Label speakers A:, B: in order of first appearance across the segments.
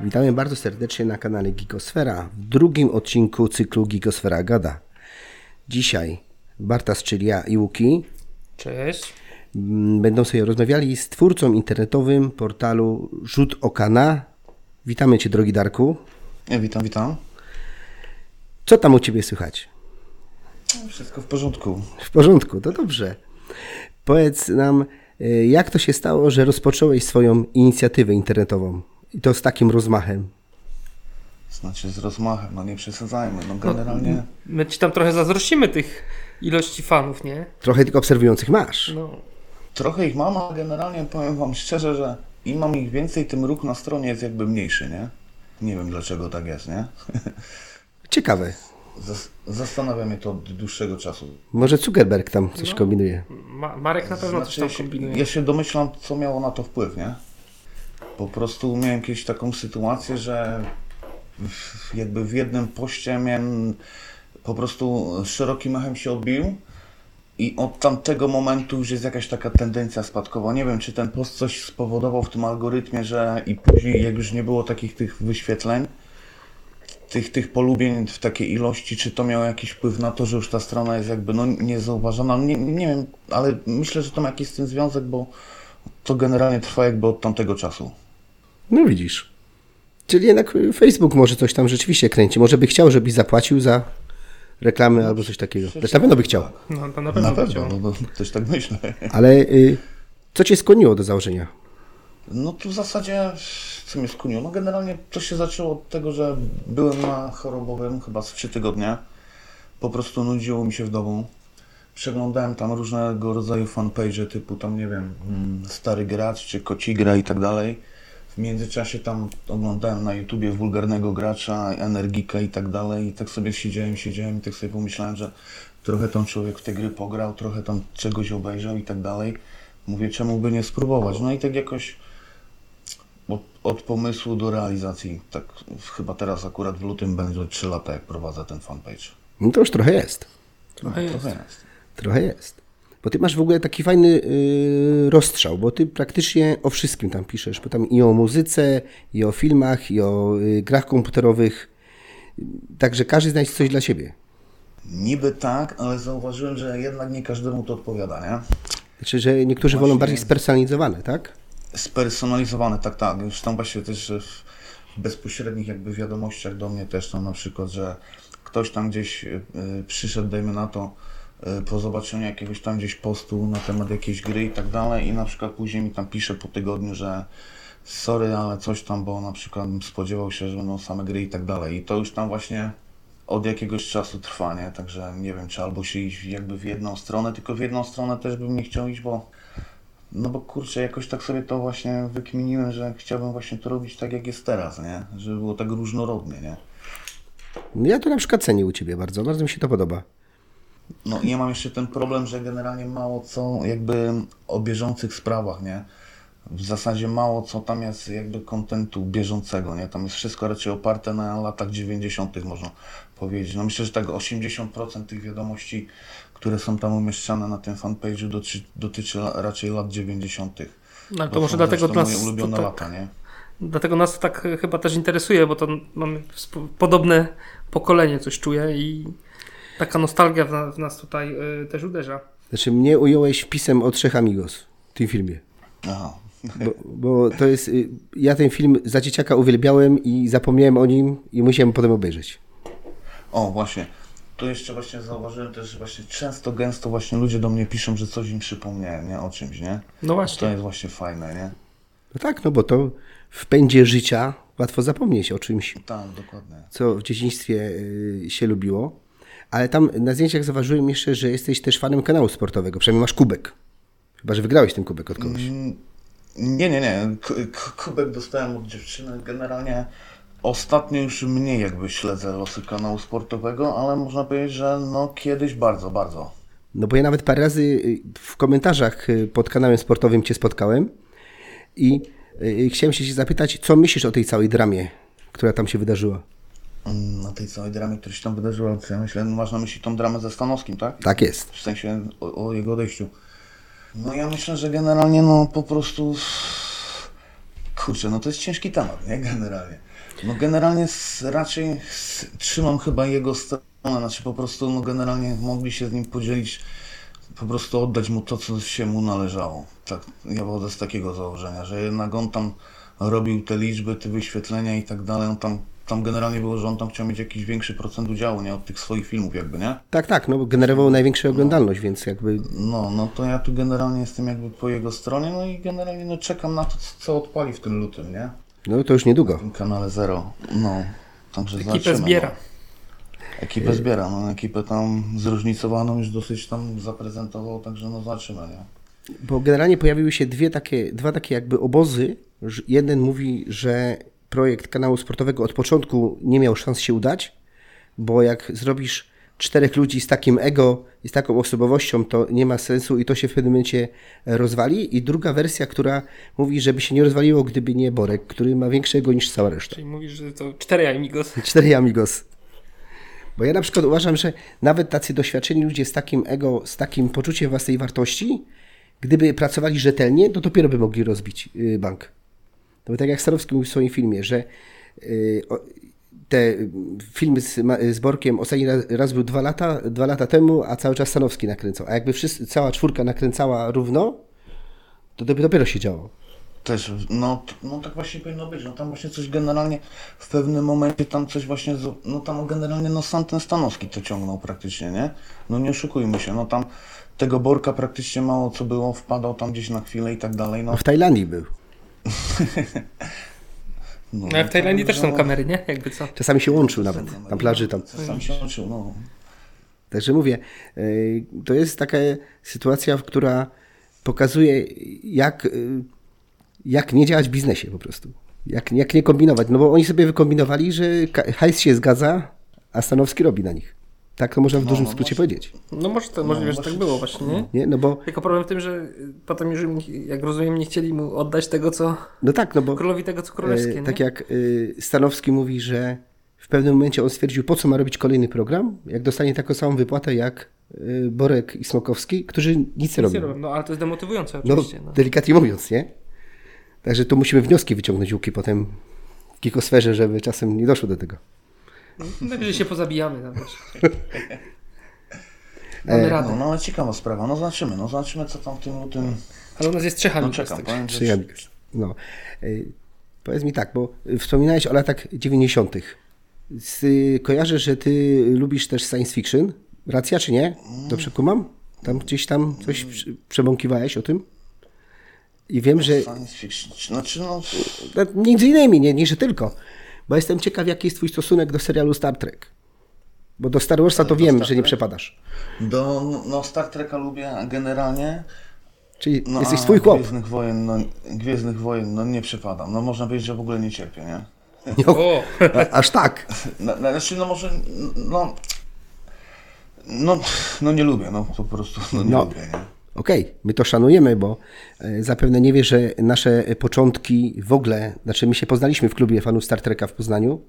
A: Witamy bardzo serdecznie na kanale Gigosfera w drugim odcinku cyklu Gigosfera Gada. Dzisiaj Bartas, czyli ja i Łuki
B: Cześć.
A: m, będą sobie rozmawiali z twórcą internetowym portalu Rzut Oka na. Witamy Cię drogi Darku.
C: Ja witam, witam.
A: Co tam u Ciebie słychać?
C: Wszystko w porządku.
A: W porządku, to dobrze. Powiedz nam, y, jak to się stało, że rozpocząłeś swoją inicjatywę internetową i to z takim rozmachem?
C: Znaczy z rozmachem, no nie przesadzajmy. No generalnie
B: My ci tam trochę zazdrościmy tych ilości fanów, nie?
A: Trochę tylko obserwujących masz.
B: No.
C: trochę ich mam, ale generalnie powiem wam szczerze, że im mam ich więcej, tym ruch na stronie jest jakby mniejszy, nie? Nie wiem dlaczego tak jest, nie?
A: Ciekawe.
C: Zas- Zastanawia mnie to od dłuższego czasu.
A: Może Zuckerberg tam coś kombinuje.
B: Ma- Marek na pewno coś
C: Znaczy,
B: tam
C: ja się-
B: kombinuje.
C: Ja się domyślam, co miało na to wpływ, nie? Po prostu miałem kiedyś taką sytuację, że w- jakby w jednym poście miałem po prostu szerokim echem się odbił i od tamtego momentu już jest jakaś taka tendencja spadkowa. Nie wiem, czy ten post coś spowodował w tym algorytmie, że i później jak już nie było takich tych wyświetleń, tych, tych polubień w takiej ilości, czy to miało jakiś wpływ na to, że już ta strona jest jakby no, niezauważona? Nie, nie wiem, ale myślę, że to ma jakiś z tym związek, bo to generalnie trwa jakby od tamtego czasu.
A: No widzisz. Czyli jednak y, Facebook może coś tam rzeczywiście kręci. Może by chciał, żebyś zapłacił za reklamy albo coś takiego. Znaczy na pewno by chciał.
B: No, to na pewno,
C: Na
B: by
C: pewno,
B: chciał.
C: no, no, też tak myślę.
A: Ale y, co cię skłoniło do założenia?
C: No tu w zasadzie, co mnie skuniło? No generalnie to się zaczęło od tego, że byłem na chorobowym chyba z trzy tygodnie. Po prostu nudziło mi się w domu. Przeglądałem tam różnego rodzaju fanpage typu tam, nie wiem, mm, Stary Gracz czy Kocigra i tak dalej. W międzyczasie tam oglądałem na YouTubie wulgarnego gracza, energika i tak dalej. I tak sobie siedziałem, siedziałem i tak sobie pomyślałem, że trochę tam człowiek w te gry pograł, trochę tam czegoś obejrzał i tak dalej. Mówię, czemu by nie spróbować? No i tak jakoś od, od pomysłu do realizacji, tak chyba teraz akurat w lutym będzie 3 lata, jak prowadzę ten fanpage.
A: No to już trochę jest.
B: Trochę
C: No,
B: jest.
C: trochę jest.
A: Trochę jest. Bo ty masz w ogóle taki fajny y, rozstrzał, bo ty praktycznie o wszystkim tam piszesz, bo tam i o muzyce, i o filmach, i o y, grach komputerowych. Także każdy znajdzie coś dla siebie.
C: Niby tak, ale zauważyłem, że jednak nie każdemu to odpowiada, nie?
A: Znaczy, że niektórzy wolą
C: Właśnie.
A: bardziej spersonalizowane, tak?
C: Spersonalizowane, tak, tak. Już tam właśnie też w bezpośrednich jakby wiadomościach do mnie też tam na przykład, że ktoś tam gdzieś y, y, przyszedł, dajmy na to, y, po zobaczeniu jakiegoś tam gdzieś postu na temat jakiejś gry i tak dalej i na przykład później mi tam pisze po tygodniu, że sorry, ale coś tam, bo na przykład spodziewał się, że będą same gry i tak dalej. I to już tam właśnie od jakiegoś czasu trwa, nie? Także nie wiem, czy albo się iść jakby w jedną stronę, tylko w jedną stronę też bym nie chciał iść, bo no bo kurczę, jakoś tak sobie to właśnie wykminiłem, że chciałbym właśnie to robić tak jak jest teraz, nie? Żeby było tak różnorodnie, nie?
A: No Ja to na przykład cenię u ciebie bardzo, bardzo mi się to podoba.
C: No i ja mam jeszcze ten problem, że generalnie mało co jakby o bieżących sprawach, nie? W zasadzie mało co tam jest jakby kontentu bieżącego, nie? Tam jest wszystko raczej oparte na latach 90. można powiedzieć. No myślę, że tak 80% tych wiadomości, które są tam umieszczane na tym fanpage'u dotyczy, dotyczy la- raczej lat 90.
B: No, ale to
C: są
B: może dlatego
C: zresztą
B: nas
C: moje ulubione
B: to tak-
C: lata, nie?
B: Dlatego nas to tak e, chyba też interesuje, bo to mamy sp- podobne pokolenie, coś czuję i taka nostalgia w, na, w nas tutaj e, też uderza.
A: Znaczy, mnie ująłeś wpisem o trzech amigos w tym filmie.
C: Aha.
A: Bo, bo to jest. y, Ja ten film za dzieciaka uwielbiałem i zapomniałem o nim i musiałem potem obejrzeć.
C: O, właśnie. Tu jeszcze właśnie zauważyłem też, że właśnie często, gęsto właśnie ludzie do mnie piszą, że coś im przypomniałem, nie? O czymś, nie?
B: No
C: To
B: właśnie.
C: jest właśnie fajne, nie?
A: No tak, no bo to w pędzie życia łatwo zapomnieć o czymś,
C: Tak, dokładnie.
A: co w dzieciństwie y, się lubiło. Ale tam na zdjęciach zauważyłem jeszcze, że jesteś też fanem kanału sportowego. Przynajmniej masz kubek. Chyba, że wygrałeś ten kubek od kogoś.
C: Nie, nie, nie. K- k- kubek dostałem od dziewczyny. Generalnie ostatnio już mniej jakby śledzę losy kanału sportowego, ale można powiedzieć, że no kiedyś bardzo, bardzo.
A: No bo ja nawet parę razy y, w komentarzach y, pod kanałem sportowym Cię spotkałem i y, chciałem się cię zapytać, co myślisz o tej całej dramie, która tam się wydarzyła?
C: mm, na tej całej dramie, która się tam wydarzyła. Ja myślę, no masz na myśli tą dramę ze Stanowskim, tak?
A: Tak jest.
C: W sensie o, o jego odejściu. No ja myślę, że generalnie no po prostu... Kurczę, no to jest ciężki temat, nie? Generalnie. No generalnie s- raczej s- trzymam chyba jego stronę, znaczy po prostu no generalnie mogli się z nim podzielić, po prostu oddać mu to, co się mu należało. Tak, ja wodę z takiego założenia, że jednak on tam robił te liczby, te wyświetlenia i tak dalej, on tam, tam generalnie było, że on tam chciał mieć jakiś większy procent udziału, nie? Od tych swoich filmów jakby, nie?
A: Tak, tak, no bo generował największą oglądalność, więc jakby
C: No, no to ja tu generalnie jestem jakby po jego stronie, no i generalnie no czekam na to, co odpali w tym lutym, nie?
A: no to już niedługo.
C: W tym kanale Zero. No, także
B: Ekipę
C: zobaczymy,
B: zbiera.
C: No. Ekipę zbiera, no ekipę tam zróżnicowaną już dosyć tam zaprezentował, także no zobaczymy, nie?
A: Bo generalnie pojawiły się dwie takie, dwa takie jakby obozy. Ż- Jeden mówi, że projekt kanału sportowego od początku nie miał szans się udać, bo jak zrobisz czterech ludzi z takim ego i z taką osobowością, to nie ma sensu i to się w pewnym momencie rozwali. I druga wersja, która mówi, żeby się nie rozwaliło, gdyby nie Borek, który ma większego niż cała reszta.
B: Czyli mówisz, że to cztery
C: No,
B: amigos.
A: Cztery amigos. Bo ja na przykład uważam, że nawet tacy doświadczeni ludzie z takim ego, z takim poczuciem własnej wartości, gdyby pracowali rzetelnie, to dopiero by mogli rozbić y, bank. No bo tak jak Starowski mówił w swoim filmie, że y, o- te y, filmy z, Ma- z Borkiem ostatni raz, raz był dwa lata, dwa lata temu, a cały czas Stanowski nakręcał. A jakby wszyscy, cała czwórka nakręcała równo, to dopiero, dopiero się działo.
C: Też, no, t- no tak właśnie powinno być, no tam właśnie coś generalnie w pewnym momencie tam coś właśnie, z- no tam generalnie no sam ten Stanowski to ciągnął praktycznie, nie? No nie oszukujmy się, no tam tego Borka praktycznie mało co było, wpadał tam gdzieś na chwilę i tak dalej, no.
A: W Tajlandii był.
C: No,
B: No, a w Tajlandii też są
C: no,
B: kamery, nie? Jakby co?
A: Czasami się łączył nawet na plaży tam.
C: Sam się uczył, no.
A: Także mówię, y, to jest taka sytuacja, w- która pokazuje, jak, y, jak nie działać w biznesie po prostu. Jak, jak nie kombinować. No bo oni sobie wykombinowali, że ka- hajs się zgadza, a Stanowski robi na nich. Tak to można w dużym
C: no
A: skrócie
C: właśnie.
A: powiedzieć.
B: No może to, możliwe, że tak było właśnie, nie?
A: Nie? No bo,
B: Tylko problem w tym, że y, potem już, im- jak rozumiem, nie chcieli mu oddać tego, co
A: no tak, no bo
B: królowi tego, co królewskie,
A: e,
B: nie?
A: tak jak y, Stanowski mówi, że w pewnym momencie on stwierdził, po co ma robić kolejny program, jak dostanie taką samą wypłatę jak y, Borek i Smokowski, którzy nic nie
B: Nie
A: robią.
B: robią, No ale to jest demotywujące
A: No,
B: oczywiście. No.
A: delikatnie mówiąc, nie? Także tu musimy wnioski wyciągnąć łuki potem w kikosferze, żeby czasem nie doszło do tego.
B: No, Najwyżej się pozabijamy tam też. Mamy
C: No,
B: radę.
C: no ale ciekawa sprawa, no zobaczymy, no zobaczymy co tam w tym lutym.
B: Ale u nas jest trzech
C: No
B: amigos.
C: czekam,
B: tak.
C: powiem, że...
A: Przyjemnie. No. Y, Powiedz mi tak, bo wspominałeś o latach 90. Z, y, kojarzę, że ty lubisz też science fiction. Racja czy nie? Dobrze kumam? Tam gdzieś tam coś prze- przebąkiwałeś o tym? I wiem,
C: No
A: że
C: Science fiction, znaczy no,
A: no, między innymi, nie, nie że tylko, bo jestem ciekaw, jaki jest twój stosunek do serialu Star Trek. Bo do Star Warsa to wiem,
C: Star
A: że nie
C: Trek?
A: przepadasz.
C: do, no Star Treka lubię generalnie.
A: Czyli
C: No,
A: jesteś
C: a
A: swój chłop.
C: Gwiezdnych wojen, no, Gwiezdnych wojen, no nie przepadam, no można powiedzieć, że w ogóle nie cierpię, nie?
B: O,
A: A- Aż tak.
C: No, no, znaczy no może, no... No, no nie lubię, no po prostu, no nie
A: No.
C: lubię, nie?
A: Okej, my to szanujemy, bo e, zapewne nie wiesz, że nasze początki w ogóle, znaczy my się poznaliśmy w klubie fanów Star Treka w Poznaniu.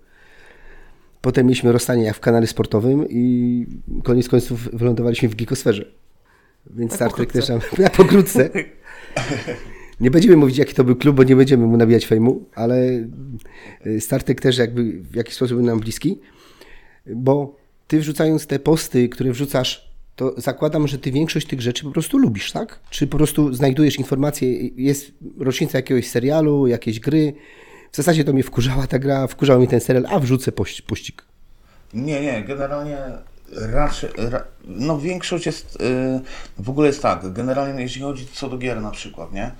A: Potem mieliśmy rozstanie jak w kanale sportowym i koniec końców wylądowaliśmy w geekosferze. Więc Star Trek też tam, na pokrótce. Nie będziemy mówić, jaki to był klub, bo nie będziemy mu nabijać fejmu, ale e, Star Trek też jakby w jakiś sposób był nam bliski. Bo ty wrzucając te posty, które wrzucasz, to zakładam, że ty większość tych rzeczy po prostu lubisz, tak? Czy po prostu znajdujesz informacje, jest rocznica jakiegoś serialu, jakiejś gry. W zasadzie to mnie wkurzała ta gra, wkurzał mnie ten serial, a wrzucę poś- pościg.
C: Nie, nie, generalnie raczej, ra, no większość jest, y, w ogóle jest tak, generalnie jeśli chodzi co do gier na przykład, nie?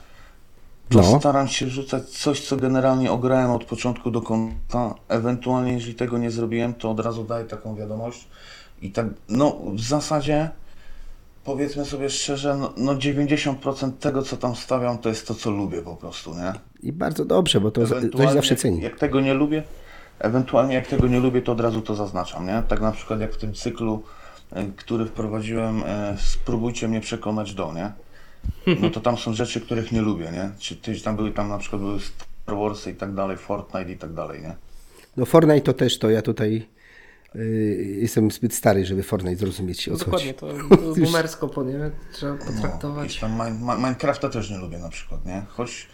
C: To
A: No.
C: staram się rzucać coś, co generalnie ograłem od początku do końca, ewentualnie jeżeli tego nie zrobiłem, to od razu daję taką wiadomość i tak, no w zasadzie powiedzmy sobie szczerze, no, no 90% tego co tam stawiam to jest to co lubię po prostu, nie?
A: I bardzo dobrze, bo No, to za- ktoś
C: Ewentualnie,
A: zawsze ceni.
C: Jak tego nie lubię, ewentualnie jak tego nie lubię, to od razu to zaznaczam, nie? Tak na przykład jak w tym cyklu, e, który wprowadziłem, e, spróbujcie mnie przekonać do, nie? No to tam są rzeczy, których nie lubię, nie? Czy tyś tam były tam na przykład były Star Warsy i tak dalej, Fortnite i tak dalej, nie?
A: No Fortnite to też to, ja tutaj y, jestem zbyt stary, żeby Fortnite zrozumieć o co chodzi.
B: No, Dokładnie, to, to boomersko po nie trzeba
C: No,
B: potraktować.
C: i tam Min- Min- Minecrafta też nie lubię na przykład, nie? Choć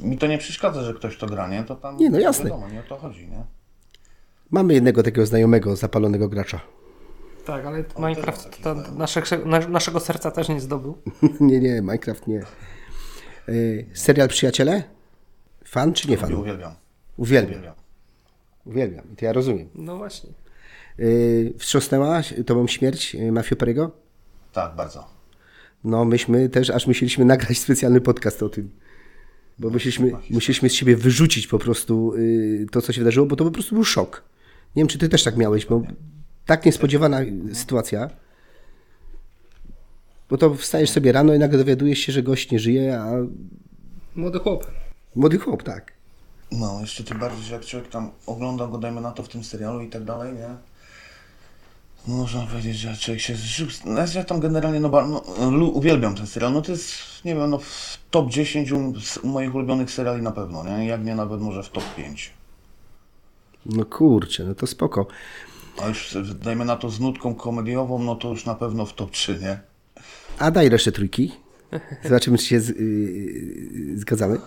C: mi to nie przeszkadza, że ktoś to gra, nie? To tam
A: Nie, no jasne.
C: wiadomo, nie o to chodzi, nie?
A: Mamy jednego takiego znajomego, zapalonego gracza.
B: Tak, ale
C: też tak.
B: Minecraft
C: taki
B: to
C: znajomy.
B: nasze, na- naszego serca też nie zdobył.
A: nie, nie, Minecraft nie. Y, serial Przyjaciele? Fan czy nie
C: Lubię,
A: fan?
C: uwielbiam.
A: Uwielbiam,
C: Uwielbiam.
A: uwielbiam. To ja rozumiem.
B: No właśnie.
A: Yy, wstrząsnęła tobą śmierć y, Mafio Perego?
C: Tak, bardzo.
A: No, myśmy też aż musieliśmy nagrać specjalny podcast o tym. Bo musieliśmy, musieliśmy z siebie wyrzucić po prostu y, to, co się wydarzyło, bo to po prostu był szok. Nie wiem, czy ty też tak miałeś, bo tak niespodziewana sytuacja. Bo to wstajesz sobie rano i nagle dowiadujesz się, że gość nie żyje, a
B: Młody chłop.
A: młody chłop, tak.
C: No, jeszcze tym bardziej, że jak człowiek tam ogląda go, dajmy na to w tym serialu i tak dalej, nie? No, Można powiedzieć, że człowiek się zżył. Znaczy, ja tam generalnie, no, ba- no lu- uwielbiam ten serial. No to jest, nie wiem, no w top 10 u- z moich ulubionych seriali na pewno, nie? Jak nie nawet może w top 5.
A: No kurczę, no to spoko.
C: A już e, dajmy na to z nutką komediową, no to już na pewno w top 3, nie?
A: A daj resztę trójki. Zobaczymy, czy się z, yy, zgadzamy.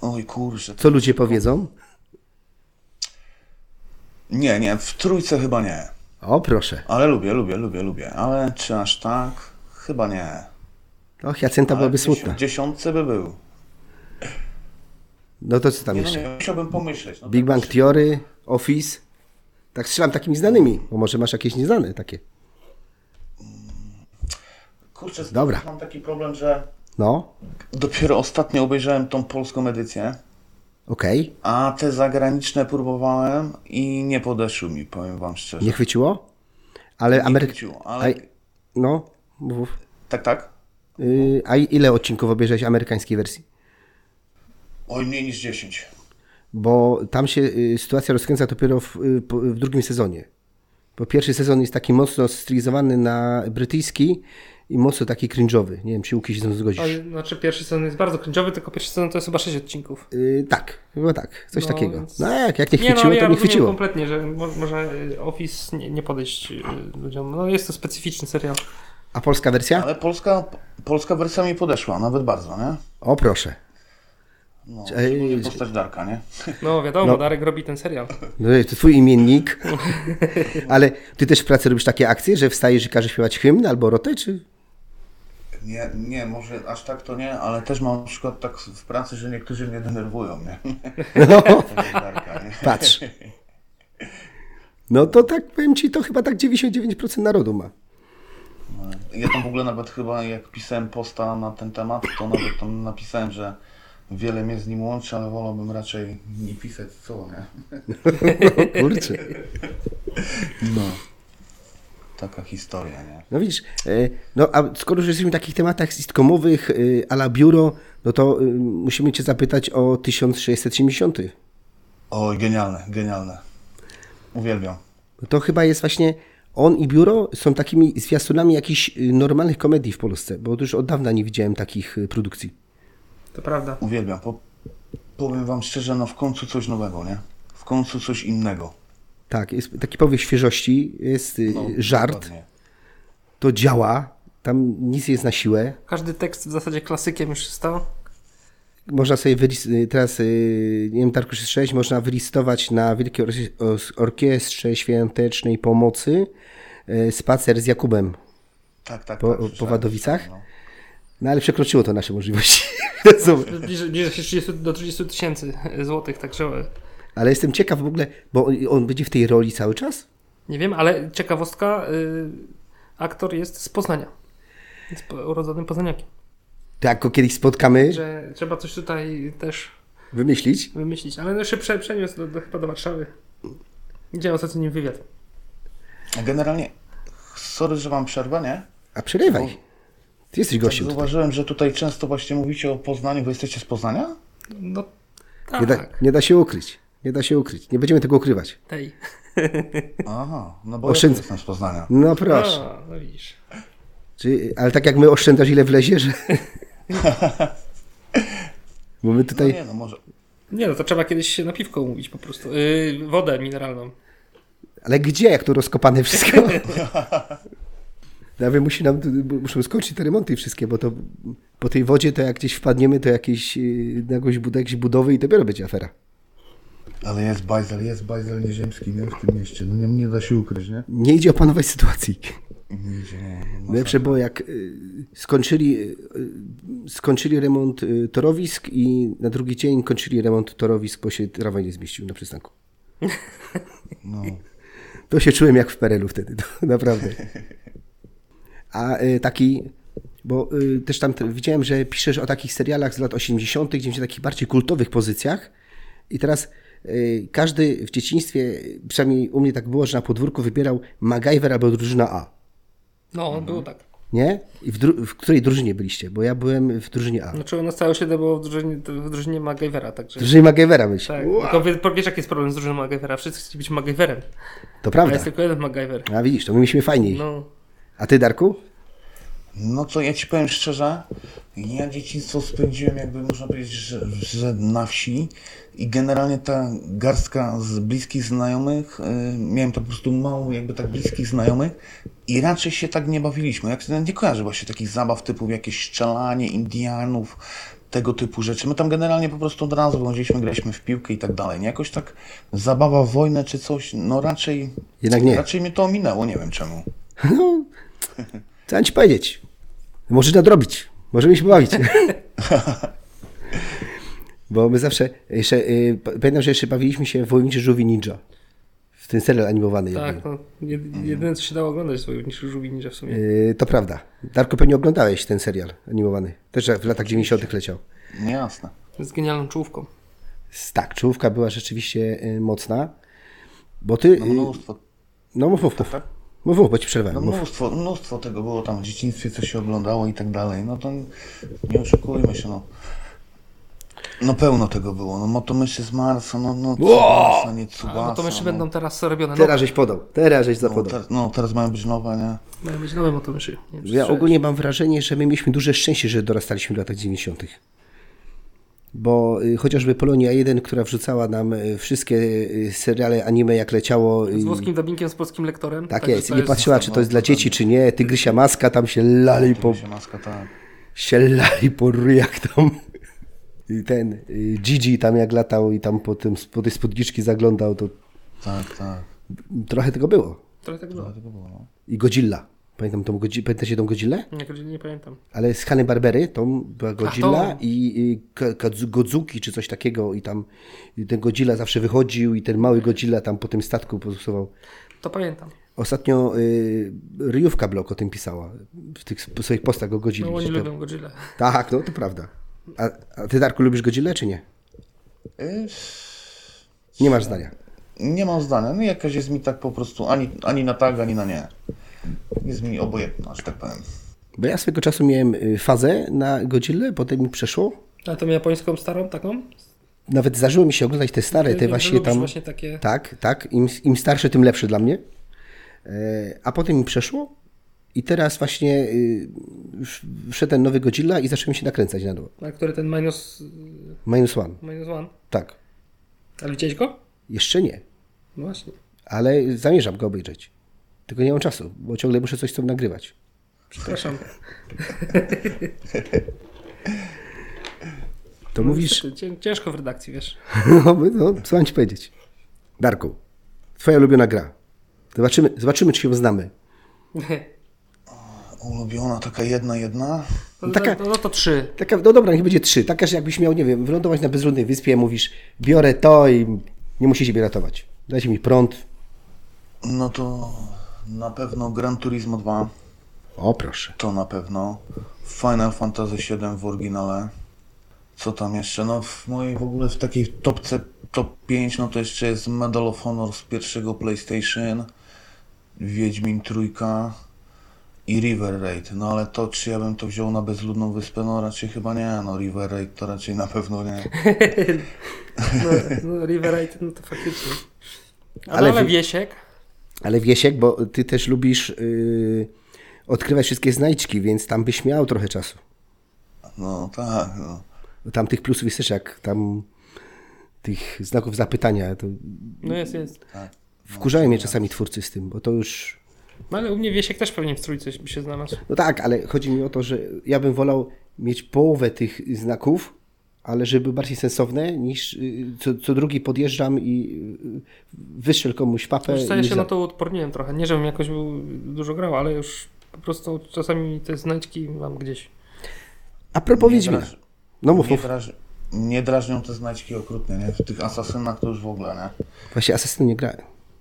C: Oj kurczę.
A: Co ludzie powiedzą?
C: Nie, nie, w trójce chyba nie.
A: O, proszę.
C: Ale lubię, lubię, lubię, lubię. Ale czy aż tak? Chyba nie.
A: Och, Jacenta
C: Ale
A: byłaby
C: w dziesią-
A: smutna.
C: dziesiątce by był.
A: No to co tam
C: Nie, no,
A: jeszcze?
C: nie, musiałbym pomyśleć. No,
A: Big
C: tak
A: Bang Theory, Office. Tak strzelam takimi znanymi, bo może masz jakieś nieznane takie.
C: Kurczę, z-
A: Dobra.
C: mam taki problem, że
A: No,
C: dopiero ostatnio obejrzałem tą polską edycję,
A: okej.
C: a te zagraniczne próbowałem i nie podeszły mi, powiem wam szczerze.
A: Nie chwyciło? Ale Ameryka...
C: chwyciło, ale-
A: No, mów.
C: Tak, tak?
A: Yy, a ile odcinków obejrzałeś amerykańskiej wersji?
C: Oj, mniej niż 10.
A: Bo tam się yy, sytuacja rozkręca dopiero w, yy, po- w drugim sezonie. Bo pierwszy sezon jest taki mocno stylizowany na brytyjski i mocno taki cringe'owy. Nie wiem, czy Łuki się z tym zgodzisz.
B: Ale, znaczy pierwszy sezon jest bardzo kręciowy, tylko pierwszy sezon to jest chyba 6 odcinków.
A: Yy, tak, chyba tak, coś
B: No,
A: takiego.
B: więc-
A: No jak, jak nie chwyciło,
B: ja
A: to nie
B: rozumiem
A: chwyciło.
B: kompletnie, że mo- może y, Office nie, nie podejść y, ludziom. No jest to specyficzny serial.
A: A polska wersja?
C: Ale polska, polska wersja mi podeszła, nawet bardzo, nie?
A: O proszę.
C: No,
A: Ej,
C: szczególnie
A: ej.
C: postać Darka, nie?
B: No wiadomo,
A: No.
B: Darek robi ten serial.
A: No, to twój imiennik. Ale ty też w pracy robisz takie akcje, że wstajesz i każesz śpiewać hymn albo rotę, czy?
C: Nie, nie, może aż tak to nie, ale też mam na przykład tak w pracy, że niektórzy mnie denerwują, nie?
A: No,
C: Darka, nie?
A: patrz. No to tak, powiem ci, to chyba tak 99% narodu ma.
C: Ja tam w ogóle nawet chyba jak pisałem posta na ten temat, to nawet tam napisałem, że wiele mnie z nim łączy, ale wolałbym raczej nie pisać co, nie?
A: O kurczę.
C: No. Taka historia, nie?
A: No widzisz, e, no a skoro już jesteśmy w takich tematach sitcomowych e, a la biuro, no to e, musimy cię zapytać o 1670.
C: Oj, genialne, genialne. Uwielbiam.
A: No To chyba jest właśnie on i biuro są takimi zwiastunami jakichś e, normalnych komedii w Polsce, bo już od dawna nie widziałem takich e, produkcji.
B: To prawda.
C: Uwielbiam. Po, powiem wam szczerze, no w końcu coś nowego, nie? W końcu coś innego.
A: Tak, jest taki powiew świeżości, jest y,
C: No,
A: żart,
C: dokładnie.
A: to działa, tam nic jest na siłę.
B: Każdy tekst w zasadzie klasykiem już się stał.
A: Można sobie wylis- y, teraz, y, nie wiem, Tarku 6, można wylistować na Wielkiej Orki- Os- Orkiestrze Świątecznej Pomocy y, spacer z Jakubem.
C: Tak, tak,
A: Po-
C: tak, słyszałem,
A: po Wadowicach?
C: słyszałem,
A: No ale przekroczyło to nasze możliwości.
B: Bliżej, bliżej się 30, do 30 tysięcy złotych, także e,
A: ale jestem ciekaw w ogóle, bo on- on będzie w tej roli cały czas?
B: nie wiem, ale ciekawostka, y, aktor jest z Poznania. Jest po- urodzonym poznaniakiem.
A: Tak, go kiedyś spotkamy,
B: Że trzeba coś tutaj też
A: wymyślić.
B: wymyślić, ale no jeszcze prze, przeniósł do, do, chyba do Warszawy. Gdzie ostatnio nim wywiad?
C: no. Generalnie, sorry, że wam przerwę, nie?
A: A przerywaj. Ty jesteś
C: Tak
A: gościem tutaj.
C: zauważyłem, że tutaj często właśnie mówicie o Poznaniu. Wy jesteście z Poznania?
B: No
A: Nie da,
B: tak,
A: nie da się ukryć. Nie da się ukryć. Nie będziemy tego ukrywać.
B: tej.
C: Aha, no bo
A: Oszyn-
C: ja też jestem z Poznania.
A: No proszę.
B: A, no widzisz.
A: Czy, ale tak jak my oszczędzasz ile wlezie, że... Bo my
C: No
A: tutaj...
C: nie, no może.
B: Nie no, to trzeba kiedyś się na piwko umówić po prostu. Yy, wodę mineralną.
A: Ale gdzie, jak to rozkopane wszystko? Nawet musi nam, muszą skończyć te remonty wszystkie, bo to po tej wodzie to jak gdzieś wpadniemy, to jakieś, yy, na jakąś, bud- jakieś budowy i dopiero będzie afera.
C: Ale jest bajzel, jest bajzel nieziemski nie? w tym mieście. No nie, nie da się ukryć, nie?
A: Nie idzie opanować sytuacji.
C: Nie idzie, nie. no.
A: Lepsze było jak y, skończyli, y, y, skończyli remont y, torowisk i na drugi dzień kończyli remont torowisk, bo się tramwaj nie zmieścił na przystanku. To się czułem jak w Perelu wtedy, to, naprawdę. A y, taki, bo y, też tam te, widziałem, że piszesz o takich serialach z lat 80., gdzie się takich bardziej kultowych pozycjach. I teraz y, każdy w dzieciństwie, przynajmniej u mnie tak było, że na podwórku wybierał MacGyver albo drużyna A.
B: No, było tak.
A: Nie? I w, dru- w której drużynie byliście? Bo ja byłem w drużynie A.
B: Znaczy u nas całe osiedle było w drużynie, w drużynie MacGyvera, także...
A: W drużynie MacGyvera byliście.
B: Tak,
A: Ua,
B: tylko wie- wiesz jaki jest problem z drużyną MacGyvera? Wszyscy chcą być MacGyverem,
A: to
B: a
A: prawda.
B: jest tylko jeden MacGyver.
A: A widzisz, to my mieliśmy fajniej.
B: No,
A: A ty, Darku?
C: No co ja ci powiem szczerze, ja dzieciństwo spędziłem jakby można powiedzieć, że, że na wsi i generalnie ta garstka z bliskich znajomych, y, miałem to po prostu mało jakby tak bliskich znajomych i raczej się tak nie bawiliśmy. Jak nie kojarzę właśnie takich zabaw typu jakieś strzelanie Indianów, tego typu rzeczy. My tam generalnie po prostu od razu wychodziliśmy, graliśmy w piłkę i tak dalej. Nie jakoś tak zabawa w wojnę czy coś, no raczej,
A: Jednak nie.
C: raczej mnie to ominęło, nie wiem czemu.
A: No, co mam ci powiedzieć? Możesz nadrobić. Możemy się bawić. Bo my zawsze, jeszcze, y, p- pamiętam, że jeszcze bawiliśmy się w Wojowniczy Żółwi Ninja. W ten serial animowany.
B: tak,
A: jakby.
B: no. jed- Jedyne co się dało oglądać to niż Żółwi Ninja w sumie.
A: Y, to prawda. Darku, pewnie oglądałeś ten serial animowany. Też w latach 90 leciał.
C: No jasne.
B: Z genialną czołówką.
A: S- Tak, czołówka była rzeczywiście y, mocna. Bo ty... y,
C: No mnóstwo
A: No mów, mów, mów.
C: tak?
A: Mów, mów, bo ci przerwałem.
C: No
A: Mów.
C: mnóstwo, mnóstwo tego było tam w dzieciństwie, co się oglądało i tak dalej. No to nie oszukujmy się, no. No pełno tego było. No Motomyszy z Marsa, no, no Tsubasa, nie
B: A,
C: Tsubasa.
B: no to myszy
C: no.
B: będą teraz robione. No,
A: Teraz żeś podał, teraz żeś
C: No,
A: zapodał.
C: teraz- no teraz mają być nowe, nie?
B: mają być nowe motomyszy. Nie wiem, czy
A: Ja
B: słyszałeś.
A: ogólnie mam wrażenie, że my mieliśmy duże szczęście, że dorastaliśmy w latach 90. Bo y, chociażby Polonia 1, która wrzucała nam y, wszystkie y, seriale anime jak leciało. y,
B: Z włoskim dubbingiem, z polskim lektorem.
A: tak
B: także
A: jest,
B: to
A: i nie patrzyła, czy to jest dla
C: no,
A: dzieci,
C: tak.
A: czy nie. Tygrysia maska tam się lali po,
C: Się maska, tak.
A: się lali po ryjach tam. I ten y, Gigi tam jak latał i tam po, tym, po tej spódniczki zaglądał, to
C: Tak, tak.
A: trochę tego było.
B: Trochę tak było.
C: To tego było, no.
A: I Godzilla. Pamiętam tą Godzi- pamiętacie tą Godzillę?
B: Jak nie pamiętam.
A: Ale z Hany Barbery, to była
B: Tak,
A: Godzilla
B: to-
A: i, i Ka- Kadzu- Godzuki czy coś takiego i tam i ten Godzilla zawsze wychodził i ten mały Godzilla tam po tym statku pozostawał.
B: To pamiętam.
A: Ostatnio y, Ryjówka Blok o tym pisała w tych sp- swoich postach o Godzilli.
B: No oni
A: że to-
B: lubią Godzilla.
A: Tak, no to prawda. A, a ty Darku lubisz Godzillę czy nie?
C: Y,
A: Nie masz zdania.
C: nie mam zdania. No jakaś jest mi tak po prostu ani, ani na tak, ani na nie. Jest mi obojętna, że tak powiem.
A: Bo ja swego czasu miałem y, fazę na Godzillę, potem mi przeszło.
B: A tą japońską starą taką?
A: Nawet zdarzyło mi się oglądać te stare,
B: Wiem, że
A: te właśnie
B: lubisz
A: tam...
B: no, właśnie takie...
A: Tak, tak. Im, im starszy, tym lepszy dla mnie. E, A potem mi przeszło i teraz właśnie y, w- wszedł ten nowy Godzilla i zacząłem się nakręcać na nowo.
B: Na który ten minus,
A: Minus One,
B: minus one.
A: tak.
B: Ale widziałeś go?
A: Jeszcze nie,
B: No właśnie.
A: ale zamierzam go obejrzeć. Tylko nie mam czasu, bo ciągle muszę coś z tym nagrywać.
B: Przepraszam.
A: To
B: No,
A: mówisz,
B: Niestety, cię- Ciężko w redakcji, wiesz.
A: no, no, co mam ci powiedzieć. Darku, twoja ulubiona gra. Zobaczymy, zobaczymy czy się znamy.
B: No
C: Ulubiona taka jedna, jedna.
B: No,
A: Taka-
B: no, no to trzy.
A: Taka, no dobra, niech będzie trzy. Taka, że jakbyś miał, nie wiem, wylądować na bezludnej wyspie, mówisz, biorę to i nie musisz siebie ratować. Dajcie mi prąd.
C: No to na pewno Gran Turismo 2.
A: O, proszę.
C: To na pewno. Final Fantasy VII w oryginale. Co tam jeszcze? No w mojej w ogóle w takiej topce top 5 no to jeszcze jest Medal of Honor z pierwszego PlayStation, Wiedźmin Trójka i River Raid. No ale to czy ja bym to wziął na bezludną wyspę? No raczej chyba nie. No River Raid to raczej na pewno nie.
B: No, no Riverite, no to faktycznie.
A: Ale
B: Ale, ale
A: wi-
B: Wiesiek.
A: Ale Wiesiek, bo ty też lubisz yy, odkrywać wszystkie znajdźki, więc tam byś miał trochę czasu.
C: No tak, no.
A: Tam tych plusów jest też jak tam tych znaków zapytania. To
B: No jest, jest.
A: Wkurzają mnie czasami twórcy z tym, bo to już.
B: No ale u mnie Wiesiek też pewnie w trójce by się znalazł.
A: No tak, ale chodzi mi o to, że ja bym wolał mieć połowę tych znaków, ale żeby bardziej sensowne, niż y, co, co drugi podjeżdżam i y, wystrzel komuś papę.
B: Wiesz co, ja
A: niż
B: się
A: za-
B: na to uodporniłem trochę. Nie, żebym jakoś był, dużo grał, ale już po prostu czasami te znajdźki mam gdzieś.
A: A propos
C: Nie
A: Wiedźmina.
C: draż-
A: No mów,
C: nie,
A: mów.
C: draż, nie drażnią te znaczki okrutne, nie? W tych asasynach to już w ogóle, nie?
A: Właśnie Assassin nie grałem.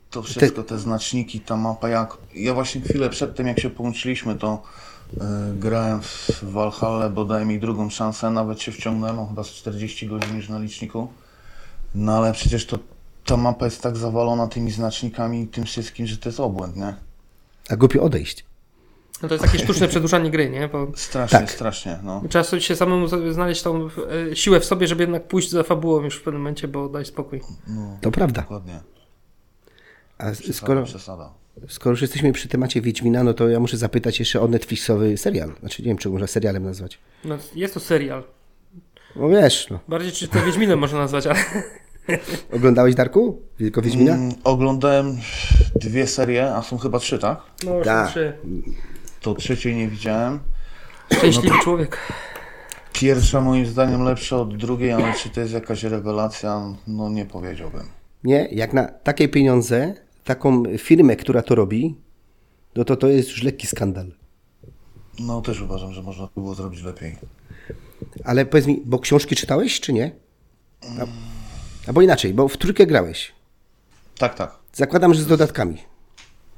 C: To wszystko, te znaczniki, ta mapa, jak... Ja właśnie chwilę przed tym, jak się połączyliśmy, to y, grałem w Valhalla, bo daj mi drugą szansę, nawet się wciągnąłem, o chyba z 40 godzin już na liczniku. No ale przecież to ta mapa jest tak zawalona tymi znacznikami i tym wszystkim, że to jest obłęd, nie?
A: A głupio odejść.
B: No to jest takie sztuczne przedłużanie gry, nie? Bo
C: Strasznie,
A: Tak.
C: strasznie, no.
B: trzeba sobie się samemu z- znaleźć tą e, siłę w sobie, żeby jednak pójść za fabułą już w pewnym momencie, bo daj spokój.
C: no
A: To prawda.
C: dokładnie.
A: A
C: Przesada,
A: skoro,
C: przesada.
A: skoro już jesteśmy przy temacie Wiedźmina, no to ja muszę zapytać jeszcze o Netflixowy serial. Znaczy nie wiem, czy można serialem nazwać.
B: No, jest to serial.
A: No wiesz, no.
B: Bardziej czy to Wiedźminem można nazwać, ale
A: Oglądałeś Darku? Tylko Wiedźmina?
C: Mm, oglądałem dwie serie, a są chyba trzy, tak?
B: no już
A: Tak.
B: trzy.
C: To trzeciej nie widziałem.
B: Szczęśliwy
A: No
B: człowiek.
C: Pierwsza moim zdaniem lepsza od drugiej, ale czy to jest jakaś rewelacja, no nie powiedziałbym.
A: Nie, jak na takie pieniądze, taką firmę, która to robi, no to to jest już lekki skandal.
C: No też uważam, że można to było zrobić lepiej.
A: Ale powiedz mi, bo książki czytałeś, czy nie? A, albo inaczej, bo w trójkę grałeś.
C: Tak, tak.
A: Zakładam, że z dodatkami.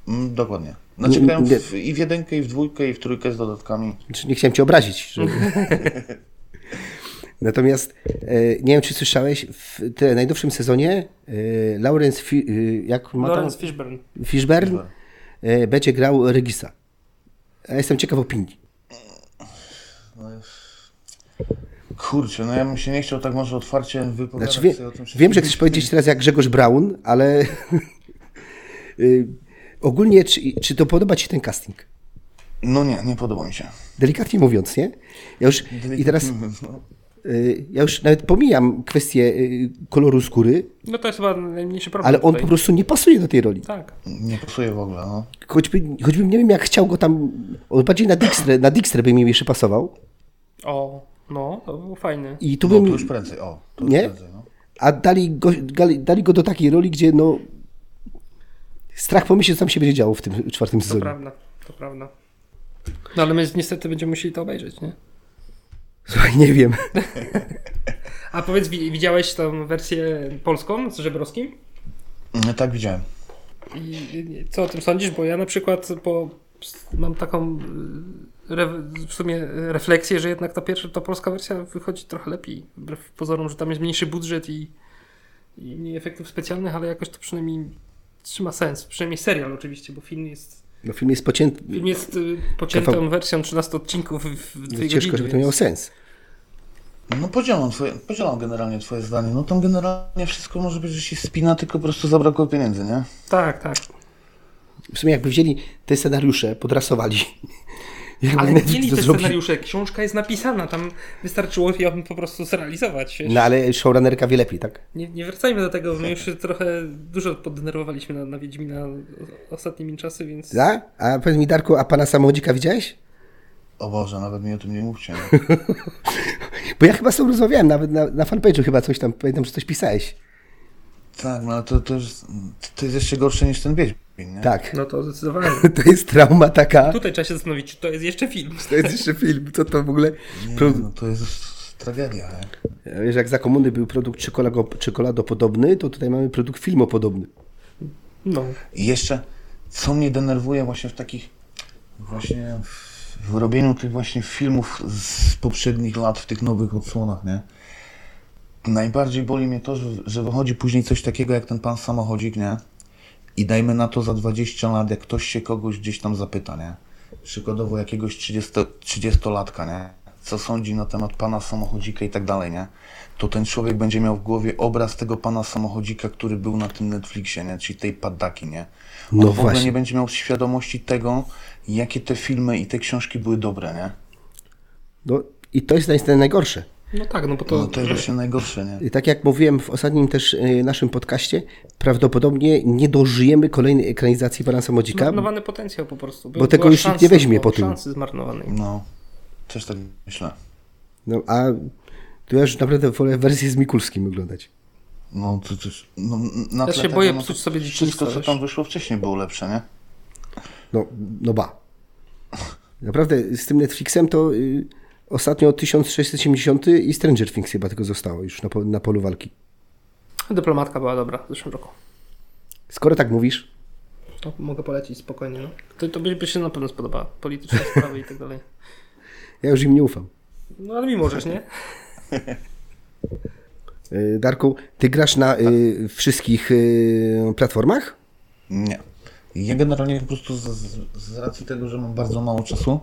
C: Mm, dokładnie. Znaczy
A: Nie-
C: grałem
A: nie-
C: w, i w jedynkę, i w dwójkę, i w trójkę z dodatkami.
A: Znaczy, nie chciałem cię obrazić. Że... Natomiast e, nie wiem, czy słyszałeś, w tym najnowszym sezonie e, Lawrence, Fi, e, jak ma tam,
B: Lawrence Fishburne.
A: Fishburne e, będzie grał Regisa. Ja jestem ciekaw opinii.
C: Kurczę, no ja bym się nie chciał tak może otwarcie wypowiadać
A: Znaczy, wie,
C: sobie o tym wszystkim.
A: wiem, że chcesz powiedzieć teraz jak Grzegorz Braun, ale y, ogólnie, czy, czy to podoba Ci ten casting?
C: No nie, nie podoba mi się.
A: Delikatnie mówiąc, nie? Ja już, I teraz
C: No,
A: y, ja już nawet pomijam kwestię y, koloru skóry,
B: No to jest chyba najmniejszy problem.
A: ale on
B: tutaj.
A: po prostu nie pasuje do tej roli.
B: Tak.
C: nie pasuje w ogóle, no.
A: Choćby, choćbym nie wiem, jak chciał go tam. On bardziej na Dijkstra, na Dijkstra by mi jeszcze pasował.
B: O, no, to był fajny.
A: I tu
C: No, tu
A: bym.
C: już prędzej, o. Tu już
A: Nie?
C: prędzej, no.
A: A dali go, dali, dali go do takiej roli, gdzie no. Strach pomyśleć, co tam się będzie działo w tym czwartym
B: To
A: sezonie.
B: prawda, to prawda. No ale my niestety będziemy musieli to obejrzeć, nie?
A: Słuchaj, nie wiem.
B: A powiedz, wi- widziałeś tą wersję polską z Żebrowskim?
C: Mm, Tak widziałem.
B: I co o tym sądzisz? Bo ja na przykład po, mam taką y, re, w sumie y, refleksję, że jednak ta pierwsza, ta polska wersja wychodzi trochę lepiej. Wbrew pozorom, że tam jest mniejszy budżet i, i mniej efektów specjalnych, ale jakoś to przynajmniej trzyma sens. Przynajmniej serial oczywiście, bo film jest,
A: No, film jest pocięty.
B: film jest y, pociętą
A: Kawał-
B: wersją 13 odcinków w w dwie
A: Ciężko,
B: godziny.
A: żeby to miało sens.
C: No podzielam, twoje, podzielam generalnie twoje zdanie. No tam generalnie wszystko może być, że się spina, tylko po prostu zabrakło pieniędzy, nie?
B: Tak, tak.
A: W sumie jakby wzięli te scenariusze, podrasowali. Jakby
B: Ale
A: Netflix
B: mieli
A: to
B: te
A: zrobił.
B: scenariusze, książka jest napisana, tam wystarczyło ją po prostu zrealizować. wiesz.
A: No ale showrunnerka wie lepiej, tak?
B: Nie, nie wracajmy do tego, my już trochę dużo poddenerwowaliśmy na, na Wiedźmina o- ostatnimi czasy, więc...
A: Da? A powiedz mi Darku, a pana samochodzika widziałeś?
C: O Boże, nawet mi o tym nie mówcie. no.
A: Bo ja chyba z tobą rozmawiałem, nawet na, na fanpage'u chyba coś tam, pamiętam, że coś pisałeś.
C: tak, no ale to, to, jest, to jest jeszcze gorsze niż ten Wiedźmin, nie?
A: Tak.
B: No to zdecydowanie.
A: To jest trauma taka.
B: Tutaj trzeba się zastanowić, czy to jest jeszcze film.
A: To jest jeszcze film, co to w ogóle... Pro...
C: Nie, no to jest tragedia, nie?
A: Wiesz, jak za komuny był produkt czekolago- czekoladopodobny, to tutaj mamy produkt filmopodobny.
B: No.
C: I jeszcze, co mnie denerwuje właśnie w takich, właśnie w, w robieniu tych właśnie filmów z poprzednich lat, w tych nowych odsłonach, nie? Najbardziej boli mnie to, że, że wychodzi później coś takiego jak ten pan samochodzik, nie? I dajmy na to za 20 lat, jak ktoś się kogoś gdzieś tam zapyta, nie? Przykładowo jakiegoś 30, 30-latka, nie? Co sądzi na temat pana samochodzika i tak dalej, nie? To ten człowiek będzie miał w głowie obraz tego pana samochodzika, który był na tym Netflixie, nie? Czyli tej paddaki, nie? On
A: No
C: w ogóle
A: właśnie.
C: nie będzie miał świadomości tego, jakie te filmy i te książki były dobre, nie?
A: No i to jest naj- najgorsze.
B: No tak, no bo to...
C: No to jest właśnie najgorsze, nie?
A: Tak jak mówiłem w ostatnim też y, naszym podcaście, prawdopodobnie nie dożyjemy kolejnej ekranizacji pana Samodzika.
B: Zmarnowany potencjał po prostu. Był,
A: Bo tego
B: była
A: już nikt nie
B: szansa,
A: weźmie
B: było
A: po tym.
B: szansy zmarnowanej.
C: No, też tak myślę.
A: No, a to ja już naprawdę wolę wersję z Mikulskim oglądać.
C: No, to, to, no, na
B: Ja
C: tle
B: się boję
C: no, to
B: psuć sobie dzieciństwo
C: Wszystko, co
B: też.
C: tam wyszło wcześniej, było lepsze, nie?
A: No, no ba. Naprawdę z tym Netflixem to y, ostatnio 1670 i Stranger Things chyba tylko zostało już na, po, na polu walki.
B: Dyplomatka była dobra w zeszłym roku.
A: Skoro tak mówisz,
B: To mogę polecić spokojnie. No. To, to by, by się na pewno spodobała. Polityczne sprawy i tak dalej.
A: ja już im nie ufam.
B: No ale mi możesz, nie?
A: Y, Darku, ty grasz na y, wszystkich y, platformach?
C: Nie. Ja generalnie po prostu z, z, z racji tego, że mam bardzo mało czasu,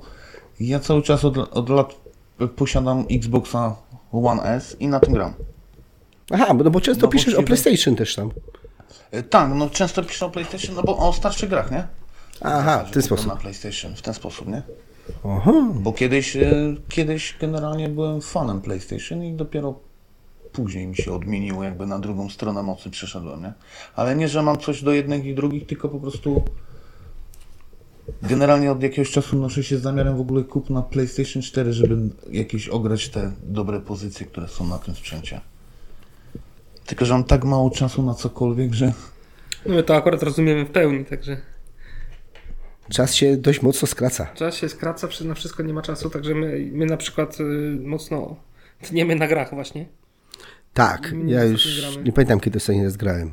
C: ja cały czas od, od lat posiadam Xboxa One S i na tym gram.
A: Aha, bo- no bo często
C: No bo
A: piszesz o
C: siedem-
A: PlayStation też tam.
C: E, Tak, no często piszę o PlayStation, no bo o starszych grach, nie?
A: Aha,
C: Że
A: w ten
C: kupiłem
A: sposób.
C: Na PlayStation, w ten sposób, nie?
A: Aha.
C: Bo kiedyś, e, kiedyś generalnie byłem fanem PlayStation i dopiero później mi się odmieniło, jakby na drugą stronę mocy przeszedłem, nie? Ale nie, że mam coś do jednych i drugich, tylko po prostu generalnie od jakiegoś czasu noszę się z zamiarem w ogóle kupna PlayStation 4, żeby jakieś ograć te dobre pozycje, które są na tym sprzęcie. Tylko, że mam tak mało czasu na cokolwiek, że...
B: No my to akurat rozumiemy w pełni, także
A: Czas się dość mocno skraca.
B: czas się skraca, przy- na wszystko nie ma czasu, także my, my na przykład y, mocno tniemy na grach właśnie.
A: Tak,
B: Nie
A: ja
B: wiem, Mm, co
A: już
B: tu gramy.
A: nie pamiętam, kiedy ostatni raz grałem.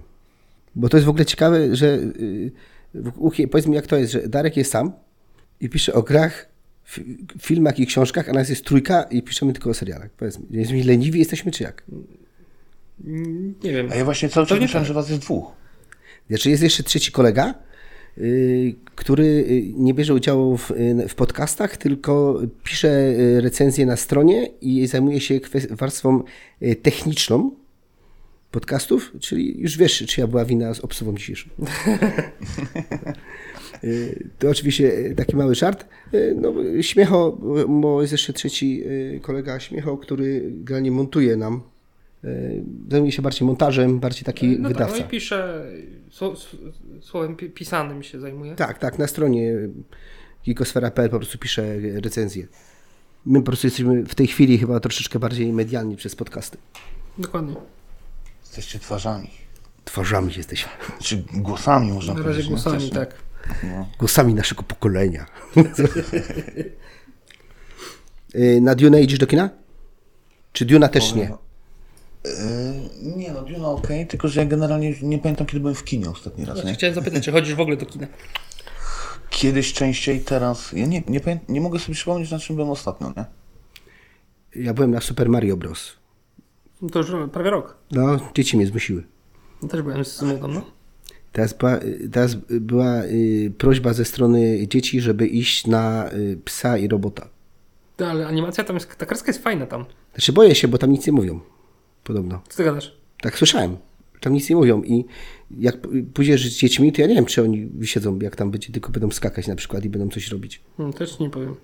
A: Bo to jest w ogóle ciekawe, że yy, w- u- powiedz mi jak to jest, że Darek jest sam i pisze o grach, fi- filmach i książkach, a nas jest trójka i piszemy tylko o serialach. Powiedz mi, jesteśmy leniwi jesteśmy czy jak?
B: Mm, Nie wiem.
C: A ja właśnie cały czas
B: Pewnie
C: myślałem,
B: tak.
C: że was jest dwóch.
A: Znaczy jest jeszcze trzeci kolega, yy, który yy, nie bierze udziału w, yy, w podcastach, tylko pisze yy, recenzje na stronie i zajmuje się kwes- warstwą yy, techniczną podcastów, czyli już wiesz, czyja była wina z obsługą dzisiejszą. Yy, To oczywiście yy, taki mały żart. Yy, No, yy, śmiecho, bo- bo jest jeszcze trzeci yy, kolega Śmiecho,
B: Mhm.
A: który generalnie montuje nam. Yy, Zajmuje się bardziej montażem, bardziej taki
B: no
A: wydawca.
B: tak, no i piszę, so, s- słowem pi- pisanym się zajmuję.
A: Tak, tak, na stronie gigosfera.pl po prostu pisze recenzję. My po prostu jesteśmy w tej chwili chyba troszeczkę bardziej medialni przez podcasty.
B: Dokładnie.
C: Jesteście twarzami.
A: Twarzami jesteśmy,
C: Czy głosami można
B: Na
C: powiedzieć.
B: razie
C: nie?
B: głosami,
C: Też, nie? No.
B: tak.
A: głosami naszego pokolenia. Y, na Dune idziesz do kina? Czy Duna też nie?
C: Yy, nie no, Duna ok, tylko że ja generalnie już nie pamiętam kiedy byłem w kinie ostatni raz,
B: Znaczy,
C: nie?
B: chciałem zapytać, czy chodzisz w ogóle do kina?
C: Kiedyś częściej, teraz... Ja nie, nie, pamię- nie mogę sobie przypomnieć na czym byłem ostatnio, nie?
A: Ja byłem na Super Mario Bros.
B: No to już prawie rok.
A: No, dzieci mnie zmusiły.
B: Ja też byłem z młodą, no.
A: Teraz była, teraz była y, prośba ze strony dzieci, żeby iść na y, psa i robota.
B: No, Ale animacja tam jest, ta kreska jest fajna tam.
A: Znaczy boję się, bo tam nic nie mówią. Podobno.
B: Co ty gadasz?
A: Tak słyszałem. Tam nic nie mówią i jak p- pójdziesz z dziećmi, to ja nie wiem, czy oni siedzą, jak tam będzie, tylko będą skakać na przykład i będą coś robić.
B: Hmm, też ci nie powiem.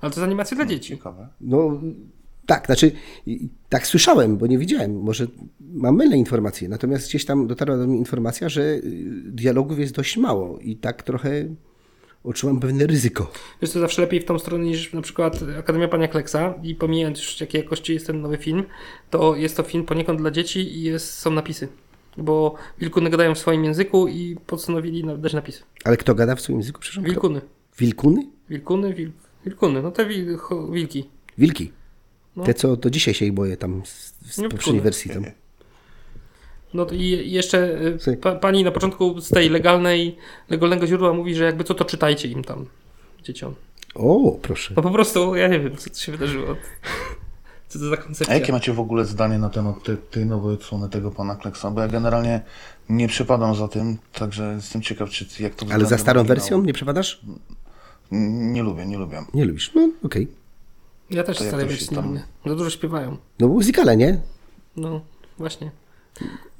B: Ale to jest animacja dla dzieci.
C: Ciekawe.
A: No tak, znaczy i- tak słyszałem, bo nie widziałem. Może mam mylne informacje, natomiast gdzieś tam dotarła do mnie informacja, że y, dialogów jest dość mało i tak trochę odczuwam pewne ryzyko.
B: Wiesz, to zawsze lepiej w tą stronę niż na przykład Akademia Pania Kleksa i pomijając już jakiej jakości jest ten nowy film, to jest to film poniekąd dla dzieci i jest, są napisy. Bo wilkuny gadają w swoim języku i postanowili na- dać napisy.
A: Ale kto gada w swoim języku? Przepraszam, kto?
B: No, Wilkuny.
A: Wilkuny?
B: Wilkuny, wil, wilkuny. No te wil, cho- wilki.
A: Wilki.
B: No.
A: Te, co do dzisiaj się ich boję tam z, z
B: Nie,
A: poprzedniej
B: wilkuny.
A: wersji. Tam.
B: No to i i jeszcze y,
A: Słuchaj.
B: pa, pani na początku z tej legalnej, legalnego źródła mówi, że jakby co to czytajcie im tam, dzieciom.
A: O, proszę.
B: No po prostu ja nie wiem, co tu się wydarzyło. Co to za koncepcja?
C: A jakie macie w ogóle zdanie na temat te, tej nowej odsłony tego pana Kleksa? Bo ja generalnie nie przepadam za tym, także jestem ciekaw, czy jak to
A: Ale
C: względem
A: za starą
C: oryginału.
A: wersją nie przepadasz?
C: N- Nie lubię, nie lubię.
A: Nie lubisz? No, okej.
B: Ja też
C: To
B: stale
C: jakoś
B: wiecznie
C: tam-
B: lubię. Za dużo śpiewają.
A: No muzykale, nie?
B: No, właśnie.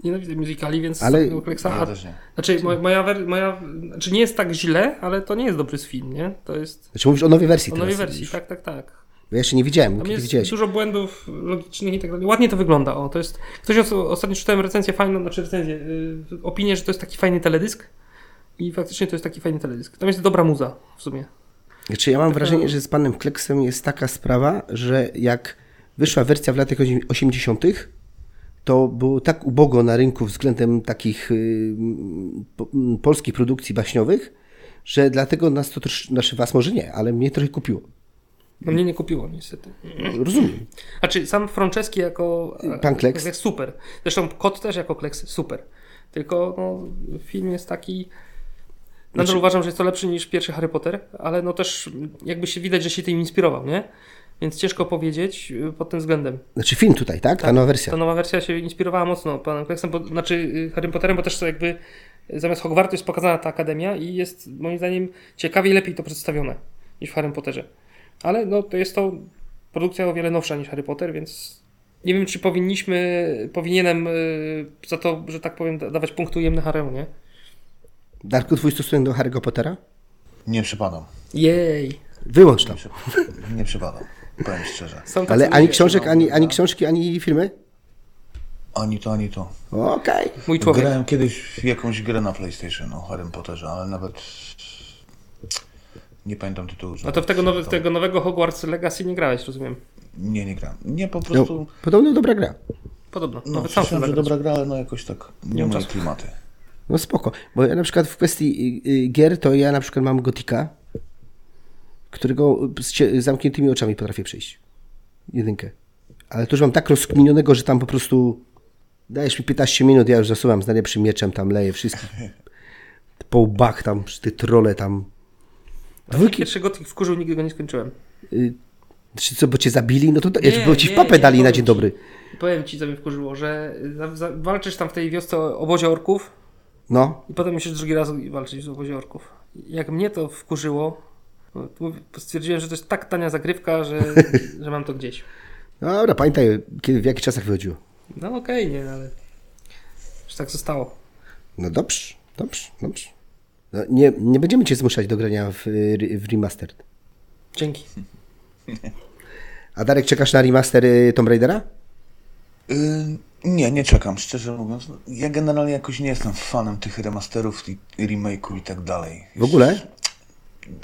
B: Nienawidzę muzykali, więc
A: Ale-
B: Ale... Kleksa...
C: Ja też nie.
B: Znaczy, moja, moja, wer- moja... Znaczy, nie jest tak źle, ale to nie jest dobry film, nie? To jest
A: Znaczy mówisz o nowej wersji
B: o
A: teraz
B: nowej wersji,
A: mówisz.
B: tak, tak, tak.
A: Bo ja jeszcze nie widziałem, bo
B: Tam
A: kiedy
B: jest
A: widziałeś.
B: dużo błędów logicznych i tak dalej. Ładnie to wygląda. O, to jest... Ktoś os- ostatnio czytałem recenzję fajną, znaczy recenzję, yy, opinię, że to jest taki fajny teledysk. I faktycznie to jest taki fajny teledysk. Tam jest dobra muza w sumie.
A: Znaczy ja mam wrażenie, że z panem Kleksem jest taka sprawa, że jak wyszła wersja w latach 80., to było tak ubogo na rynku względem takich y, po- m, polskich produkcji baśniowych, że dlatego nas to trosz, znaczy was może nie, ale mnie trochę kupiło.
B: No mnie nie kupiło niestety.
A: Rozumiem.
B: Znaczy sam Franceski jako e,
A: Pan Kleks.
B: jak super. Zresztą kot też jako Kleks super. Tylko no, film jest taki... Nadal uważam, że jest to lepszy niż pierwszy Harry Potter, ale no też jakby się widać, że się tym inspirował, nie? Więc ciężko powiedzieć yy, pod tym względem.
A: Znaczy film tutaj, tak? Ta nowa wersja.
B: Ta nowa wersja się inspirowała mocno panem Kleksem, bo, znaczy y, Harry Potterem, bo też to jakby y, zamiast Hogwartu jest pokazana ta akademia i jest moim zdaniem ciekawiej lepiej to przedstawione niż w Harry Potterze. Ale no to jest to produkcja o wiele nowsza niż Harry Potter, więc nie wiem czy powinniśmy, powinienem y, za to, że tak powiem, da- dawać punkt ujemny Haremu, nie?
A: Darku, twój stosunek do Harry'ego Pottera?
C: Nie przypadam.
B: Jej!
A: Wyłącz to.
C: Nie, przy... nie przypadam. Powiem szczerze.
B: Są tacy
A: Ale ani
B: ludzie.
A: książek, ani, ani
C: dobra.
A: książki, ani filmy?
C: Ani to, ani to.
A: Okej.
B: Mój człowiek.
C: Grałem kiedyś w jakąś grę na PlayStation o Harrym Potterze, ale nawet nie pamiętam tytułu.
B: A to w tego, nowe, w tego nowego Hogwarts Legacy nie grałeś, rozumiem.
C: Nie, nie grałem. Nie, po
A: No,
C: prostu...
A: podobno dobra gra.
B: Podobno.
C: No,
B: Nawet sam
C: słyszałem, że
B: sobie
C: dobra gra, ale no jakoś tak nie
B: mam
C: moje
B: czasu.
C: klimaty.
A: No spoko, bo ja na przykład w kwestii y, y, gier, to ja na przykład mam Gotika, którego z cie- zamkniętymi oczami potrafię przejść. Jedynkę. Ale to już mam tak rozkminionego, że tam po prostu dajesz mi 15 minut, ja już zasuwam z najlepszym mieczem, tam leję wszystkich. Po łbach tam, te trole tam. Dwójki,
B: Pierwszy gotik wkurzył, nigdy go nie skończyłem.
A: czy co, bo cię zabili? No to
B: Nie,
A: nie, bo ci w
B: nie,
A: papę
B: nie,
A: dali na
B: powiem
A: dzień
B: ci.
A: dobry.
B: Powiem ci, co mnie wkurzyło, że za, za, walczysz tam w tej wiosce o obozie orków
A: No,
B: i potem musisz drugi raz walczyć w obozie orków. Jak mnie to wkurzyło, no, to mówię- stwierdziłem, że to jest tak tania zagrywka, że, że mam to gdzieś.
A: no dobra, pamiętaj, kiedy, w jakich czasach wychodziło.
B: No okej, nie, ale już tak zostało.
A: No dobrze, dobrze, dobrze. No, nie, nie będziemy cię zmuszać do grania w, y, w remastered.
B: Dzięki.
A: A Darek, czekasz na remaster y, Tomb Raidera?
C: Y, nie, nie czekam, szczerze mówiąc. No, Ja generalnie jakoś nie jestem fanem tych remasterów i i remake'u i tak dalej.
A: W ogóle?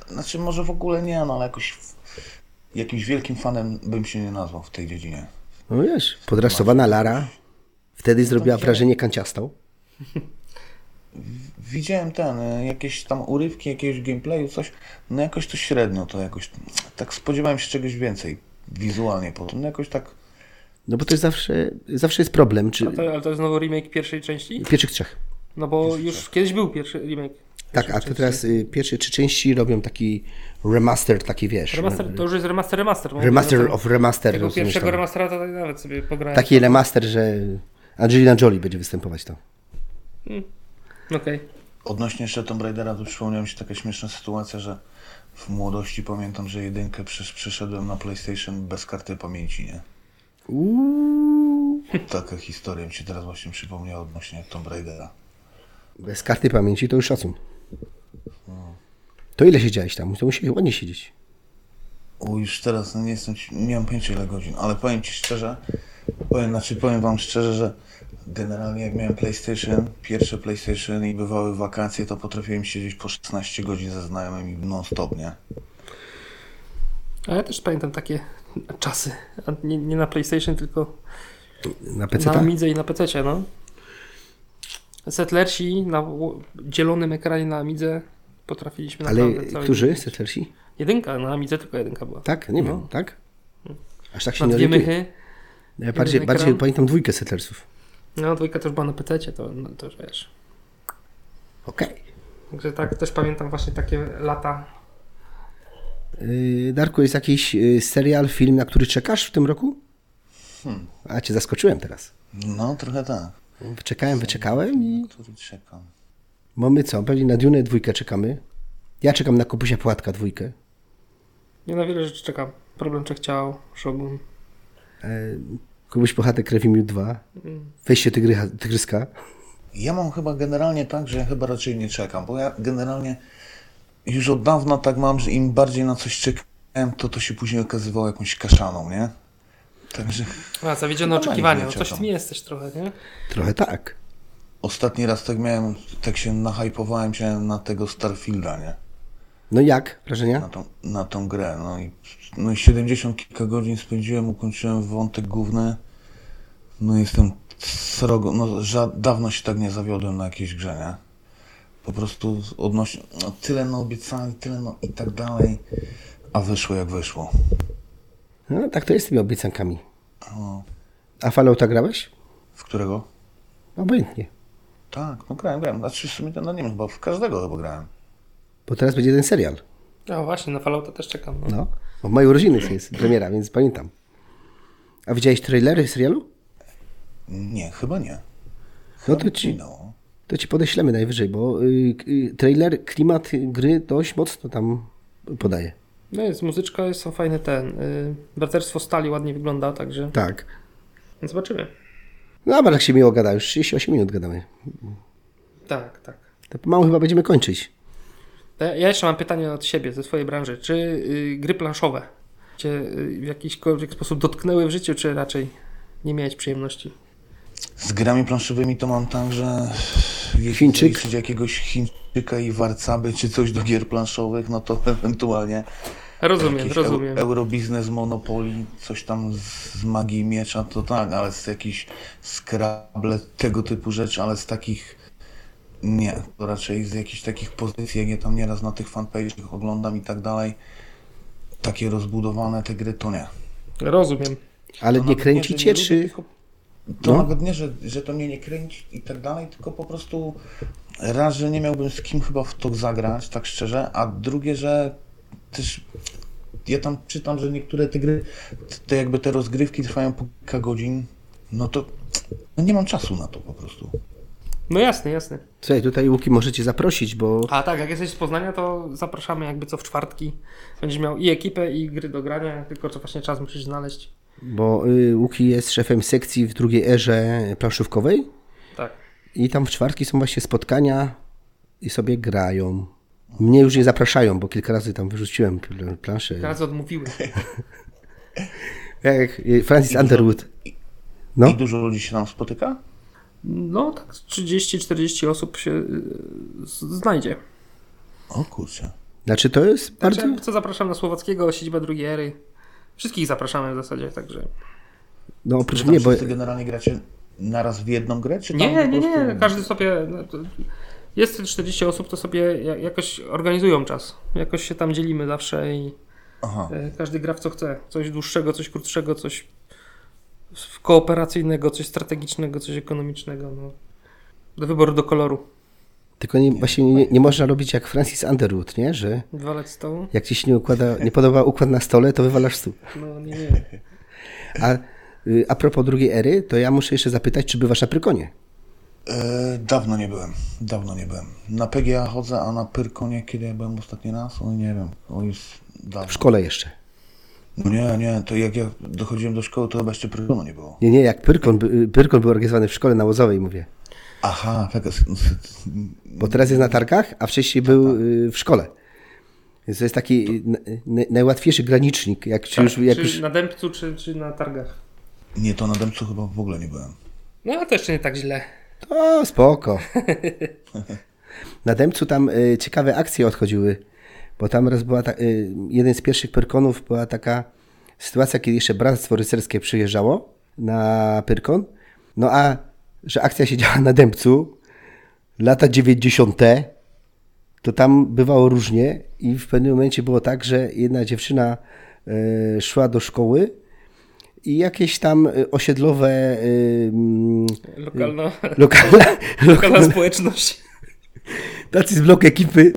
C: Znaczy może w ogóle nie, no ale jakoś w- jakimś wielkim fanem bym się nie nazwał w tej dziedzinie.
A: No wiesz, podrasowana Lara wtedy zrobiła wrażenie kanciastą.
C: Widziałem ten, y, jakieś tam urywki jakiegoś gameplayu, coś, no jakoś to średnio, to jakoś, tak spodziewałem się czegoś więcej wizualnie po tym, no jakoś tak,
A: No bo to jest zawsze, zawsze jest problem, czy
B: A to, ale to jest znowu remake pierwszej części?
A: pierwszych trzech.
B: No bo już kiedyś był pierwszy remake.
A: Tak, a to teraz y, pierwsze trzy części robią taki remaster, taki wiesz.
B: Remaster, to już jest remaster, remaster. bo
A: Remaster
B: mówię,
A: of tak. remaster.
B: Tego
A: rozumiesz
B: pierwszego
A: to?
B: remastera to nawet sobie pograłem.
A: Taki remaster, że Angelina Jolie będzie występować tam.
B: Okej.
C: Odnośnie jeszcze Tomb Raidera, to przypomniała mi się taka śmieszna sytuacja, że w młodości pamiętam, że jedynkę przesz- przeszedłem na PlayStation bez karty pamięci, nie? Taka historia mi się teraz właśnie przypomniała odnośnie Tomb Raidera.
A: Bez karty pamięci to już szacun. To ile siedziałeś tam? To musi ładnie siedzieć.
C: U, już teraz no nie jestem, ci- nie mam pojęcia ile godzin, ale powiem Ci szczerze, powiem, znaczy powiem Wam szczerze, że generalnie jak miałem PlayStation, pierwsze PlayStation i bywały wakacje, to potrafiłem siedzieć po 16 godzin ze znajomymi non-stop, nie?
B: A ja też pamiętam takie czasy. A Nie, nie na PlayStation, tylko
A: Na
B: na
A: PC.
B: Amidze i na PC, no. Settlersi na ło- dzielonym ekranie na Amidze potrafiliśmy
A: Ale
B: naprawdę całe-
A: którzy? Settlersi?
B: Jedynka, na Amidze tylko jedynka była.
A: Tak? Nie
B: No.
A: wiem, tak? Aż tak się
B: Na
A: nie
B: dwie
A: orientuję.
B: mychy.
A: Ja bardziej,
B: jeden ekran.
A: bardziej pamiętam dwójkę Settlersów.
B: No, dwójka też była na PC, to, no, to już wiesz.
A: Okej.
B: Także tak, też pamiętam właśnie takie lata.
A: Yy, Darku, jest jakiś yy, serial, film, na który czekasz w tym roku? A cię zaskoczyłem teraz.
C: No, trochę tak.
A: Wyczekałem, wyczekałem i
C: Na który czekam.
A: mamy co? Pewnie na Dune dwójkę czekamy. Ja czekam na Kubusia Płatka dwójkę.
B: Nie na wiele rzeczy czekam. Problem czy chciał, Shogun.
A: Kubuś Puchatek Krewi Miód 2.
B: Mm.
A: Wejście tygrycha, tygryska.
C: Ja mam chyba generalnie tak, że ja chyba raczej nie czekam, bo ja generalnie już od dawna tak mam, że im bardziej na coś czekam, miałem, to to się później okazywało jakąś kaszaną, nie? Także
B: A, zawiedzione
C: No,
B: oczekiwania, no
C: będzie
B: coś
C: tam.
B: ty nie jesteś trochę, nie?
A: Trochę tak.
C: ostatni raz tak miałem, tak się nahypowałem się na tego Starfielda, nie?
A: No jak? Wrażenia?
C: Na tą, na tą grę. No i, no i 70 kilka godzin spędziłem, ukończyłem wątek główny. No i jestem srogo, no ża- dawno się tak nie zawiodłem na jakiejś grze, nie? Po prostu odnośnie, no, tyle no obiecali, tyle no i tak dalej, a wyszło jak wyszło.
A: No tak to jest z tymi obiecankami.
C: No,
A: A Fallouta grałeś?
C: w którego?
A: Obojętnie.
C: Tak, no grałem, grałem. Znaczy w sumie no nie wiem, chyba w każdego chyba grałem.
A: Bo teraz będzie ten serial.
B: No właśnie, na Fallouta też czekam. No.
A: No. Bo w maju urodziny jest premiera, więc pamiętam. A widziałeś trailery serialu?
C: Nie, chyba nie.
A: No to ci,
C: No.
A: to ci podeślemy najwyżej, bo y, y, trailer, klimat gry dość mocno tam podaje.
B: no jest muzyczka, są fajne ten. Y, braterstwo Stali ładnie wygląda, także
A: Tak.
B: zobaczymy.
A: No ale tak się miło gada, już 38 minut gadamy.
B: Tak, tak.
A: To pomału chyba będziemy kończyć.
B: Ja ja jeszcze mam pytanie od siebie, ze swojej branży. Czy y, gry planszowe cię y, w jakikolwiek sposób dotknęły w życiu, czy raczej nie miałeś przyjemności?
C: Z grami planszowymi to mam tak, że jeśli
A: Chińczyk?
C: zaliczyć jakiegoś Chińczyka i warcaby czy coś do gier planszowych, no to ewentualnie
B: Rozumiem,
C: jakiś
B: rozumiem.
C: Eu, eurobiznes, Monopoly, coś tam z, z magii miecza, to tak, ale z jakichś skrable, tego typu rzeczy, ale z takich nie, to raczej z jakichś takich pozycji, jak je tam nieraz na tych fanpage'ach oglądam i tak dalej, takie rozbudowane te gry, to nie.
B: Rozumiem.
A: Ale
C: To
A: nie
C: nawet
A: kręci cię,
C: że No, nie
A: czy...
C: lubię, tylko- To
A: No.
C: nawet nie, że, że to mnie nie kręci i tak dalej, tylko po prostu raz, że nie miałbym z kim chyba w to zagrać, tak szczerze, a drugie, że też ja tam czytam, że niektóre te gry, te jakby te rozgrywki trwają po kilka godzin, no to no nie mam czasu na to po prostu.
B: No jasne, jasne.
A: Słuchaj, tutaj Łuki możecie zaprosić, bo
B: A tak, jak jesteś z Poznania, to zapraszamy jakby co w czwartki. Będziesz miał i ekipę, i gry do grania, tylko co właśnie czas musisz znaleźć.
A: Bo y, Łuki jest szefem sekcji w drugiej erze planszówkowej
B: Tak.
A: i tam w czwartki są właśnie spotkania i sobie grają. Mnie już nie zapraszają, bo kilka razy tam wyrzuciłem pl- planszę.
B: Teraz odmówiły.
A: Jak y, Francis Underwood. No.
C: I dużo ludzi się tam spotyka?
B: No tak, z 30-40 osób się y, z- znajdzie.
C: O kurczę.
A: Znaczy to jest bardzo...
B: Także co zapraszam na Słowackiego, siedzibę drugiej ery. Wszystkich zapraszamy w zasadzie, także.
A: No
C: Czy
A: oprócz
C: tam
A: mnie, bo...
C: wszyscy generalnie gracie naraz w jedną grę, czy tam
B: Nie,
C: po
B: nie,
C: prostu...
B: nie. Każdy sobie. no to- Jest 40 osób, to sobie ja- jakoś organizują czas. Jakoś się tam dzielimy zawsze i
C: Aha.
B: e, każdy gra w co chce. Coś dłuższego, coś krótszego, coś w- kooperacyjnego, coś strategicznego, coś ekonomicznego. No. Do wyboru do koloru.
A: Tylko nie, właśnie nie, nie można robić jak Francis Underwood, nie? Że
B: Wywalać z stołu?
A: jak ci się nie układa, nie podoba układ na stole, to wywalasz stół.
B: No nie, nie.
A: A y, a propos drugiej ery, to ja muszę jeszcze zapytać, czy bywasz na Prykonie?
C: E, dawno nie byłem, dawno nie byłem. Na PGA chodzę, a na Pyrkonie kiedy ja byłem ostatni raz? Oj, nie wiem, oj, już dawno.
A: W szkole jeszcze.
C: No nie, nie, to jak ja dochodziłem do szkoły, to chyba jeszcze Pyrkonu nie było.
A: Nie, nie, jak Pyrkon, by- Pyrkon był organizowany w szkole nałozowej, mówię.
C: Aha, tak, s- s-
A: Bo teraz jest na targach, a wcześniej był y, w szkole. Więc to jest taki y, na- najłatwiejszy granicznik, jak, czy już, jak
B: Tak, czy
A: już...
B: na dębcu, czy, czy na targach?
C: nie, to na Dębcu chyba w ogóle nie byłem.
B: No ale to jeszcze nie tak źle.
A: O, spoko. Na Dębcu tam y, ciekawe akcje odchodziły, bo tam raz była ta, y, jeden z pierwszych Pyrkonów była taka sytuacja, kiedy jeszcze Bractwo Rycerskie przyjeżdżało na Pyrkon, no a że akcja się działa na Dębcu, lata 90. to tam bywało różnie i w pewnym momencie było tak, że jedna dziewczyna y, szła do szkoły i jakieś tam y, osiedlowe y, mm,
B: Lokalna,
A: lokalna,
B: lokalna
A: lokalna
B: społeczność.
A: tacy z blok ekipy,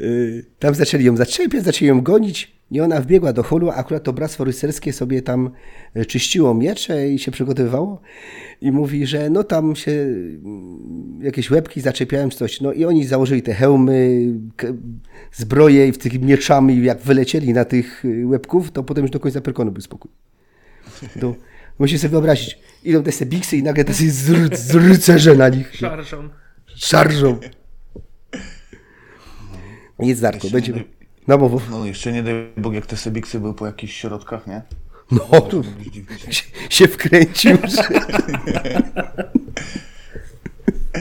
A: y, tam zaczęli ją zatrzepiać, zaczęli ją gonić i ona wbiegła do holu, a akurat to bractwo rycerskie sobie tam y, czyściło miecze i się przygotowywało i mówi, że no tam się mm, jakieś łebki zaczepiałem czy coś, no i oni założyli te hełmy, k- zbroje i w tych mieczami jak wylecieli na tych y, łebków, to potem już do końca perkonu był spokój. To, musisz sobie wyobrazić, idą te sebiksy i nagle tacy z, ry- z rycerze na nich się
B: Szarżą.
A: szarżą. No. Nic, Darku, będziemy.
C: Jeszcze
A: Na mowo.
C: No jeszcze nie daj Bóg, jak te sebiksy były po jakichś środkach, nie?
A: No, tu się, się wkręcił.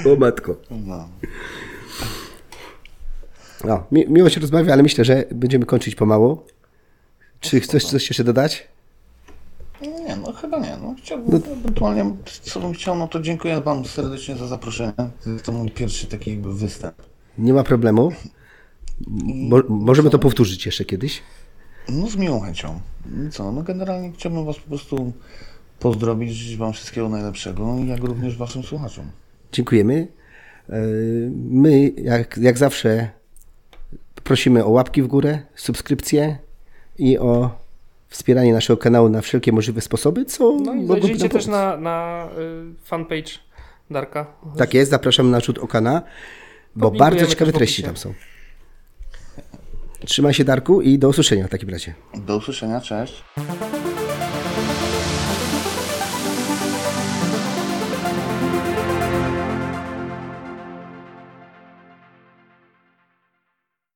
A: Że... o matko.
C: No.
A: No, mi, miło się rozmawia, ale myślę, że będziemy kończyć pomału. Czy chcesz coś jeszcze dodać?
C: Nie, no chyba nie. No, chciałbym, ewentualnie, co bym chciał, no to dziękuję Wam serdecznie za zaproszenie. To mój pierwszy taki jakby występ.
A: Nie ma problemu. Mo- możemy to powtórzyć jeszcze kiedyś.
C: No z miłą chęcią. I Co, no generalnie chciałbym Was po prostu pozdrowić, życzyć Wam wszystkiego najlepszego, jak również Waszym słuchaczom.
A: Dziękujemy. Yy, My, jak, jak zawsze, prosimy o łapki w górę, subskrypcje i o wspieranie naszego kanału na wszelkie możliwe sposoby, co
B: No i
A: mogłoby
B: zajrzyjcie
A: nam
B: też
A: pomóc.
B: na, na y, fanpage Darka.
A: Tak jest, zapraszam na rzut oka na, bo
B: Podlinkujemy
A: bardzo ciekawe
B: też w
A: treści
B: opisie.
A: tam są. Trzymaj się Darku i do usłyszenia w takim razie.
C: Do usłyszenia, cześć.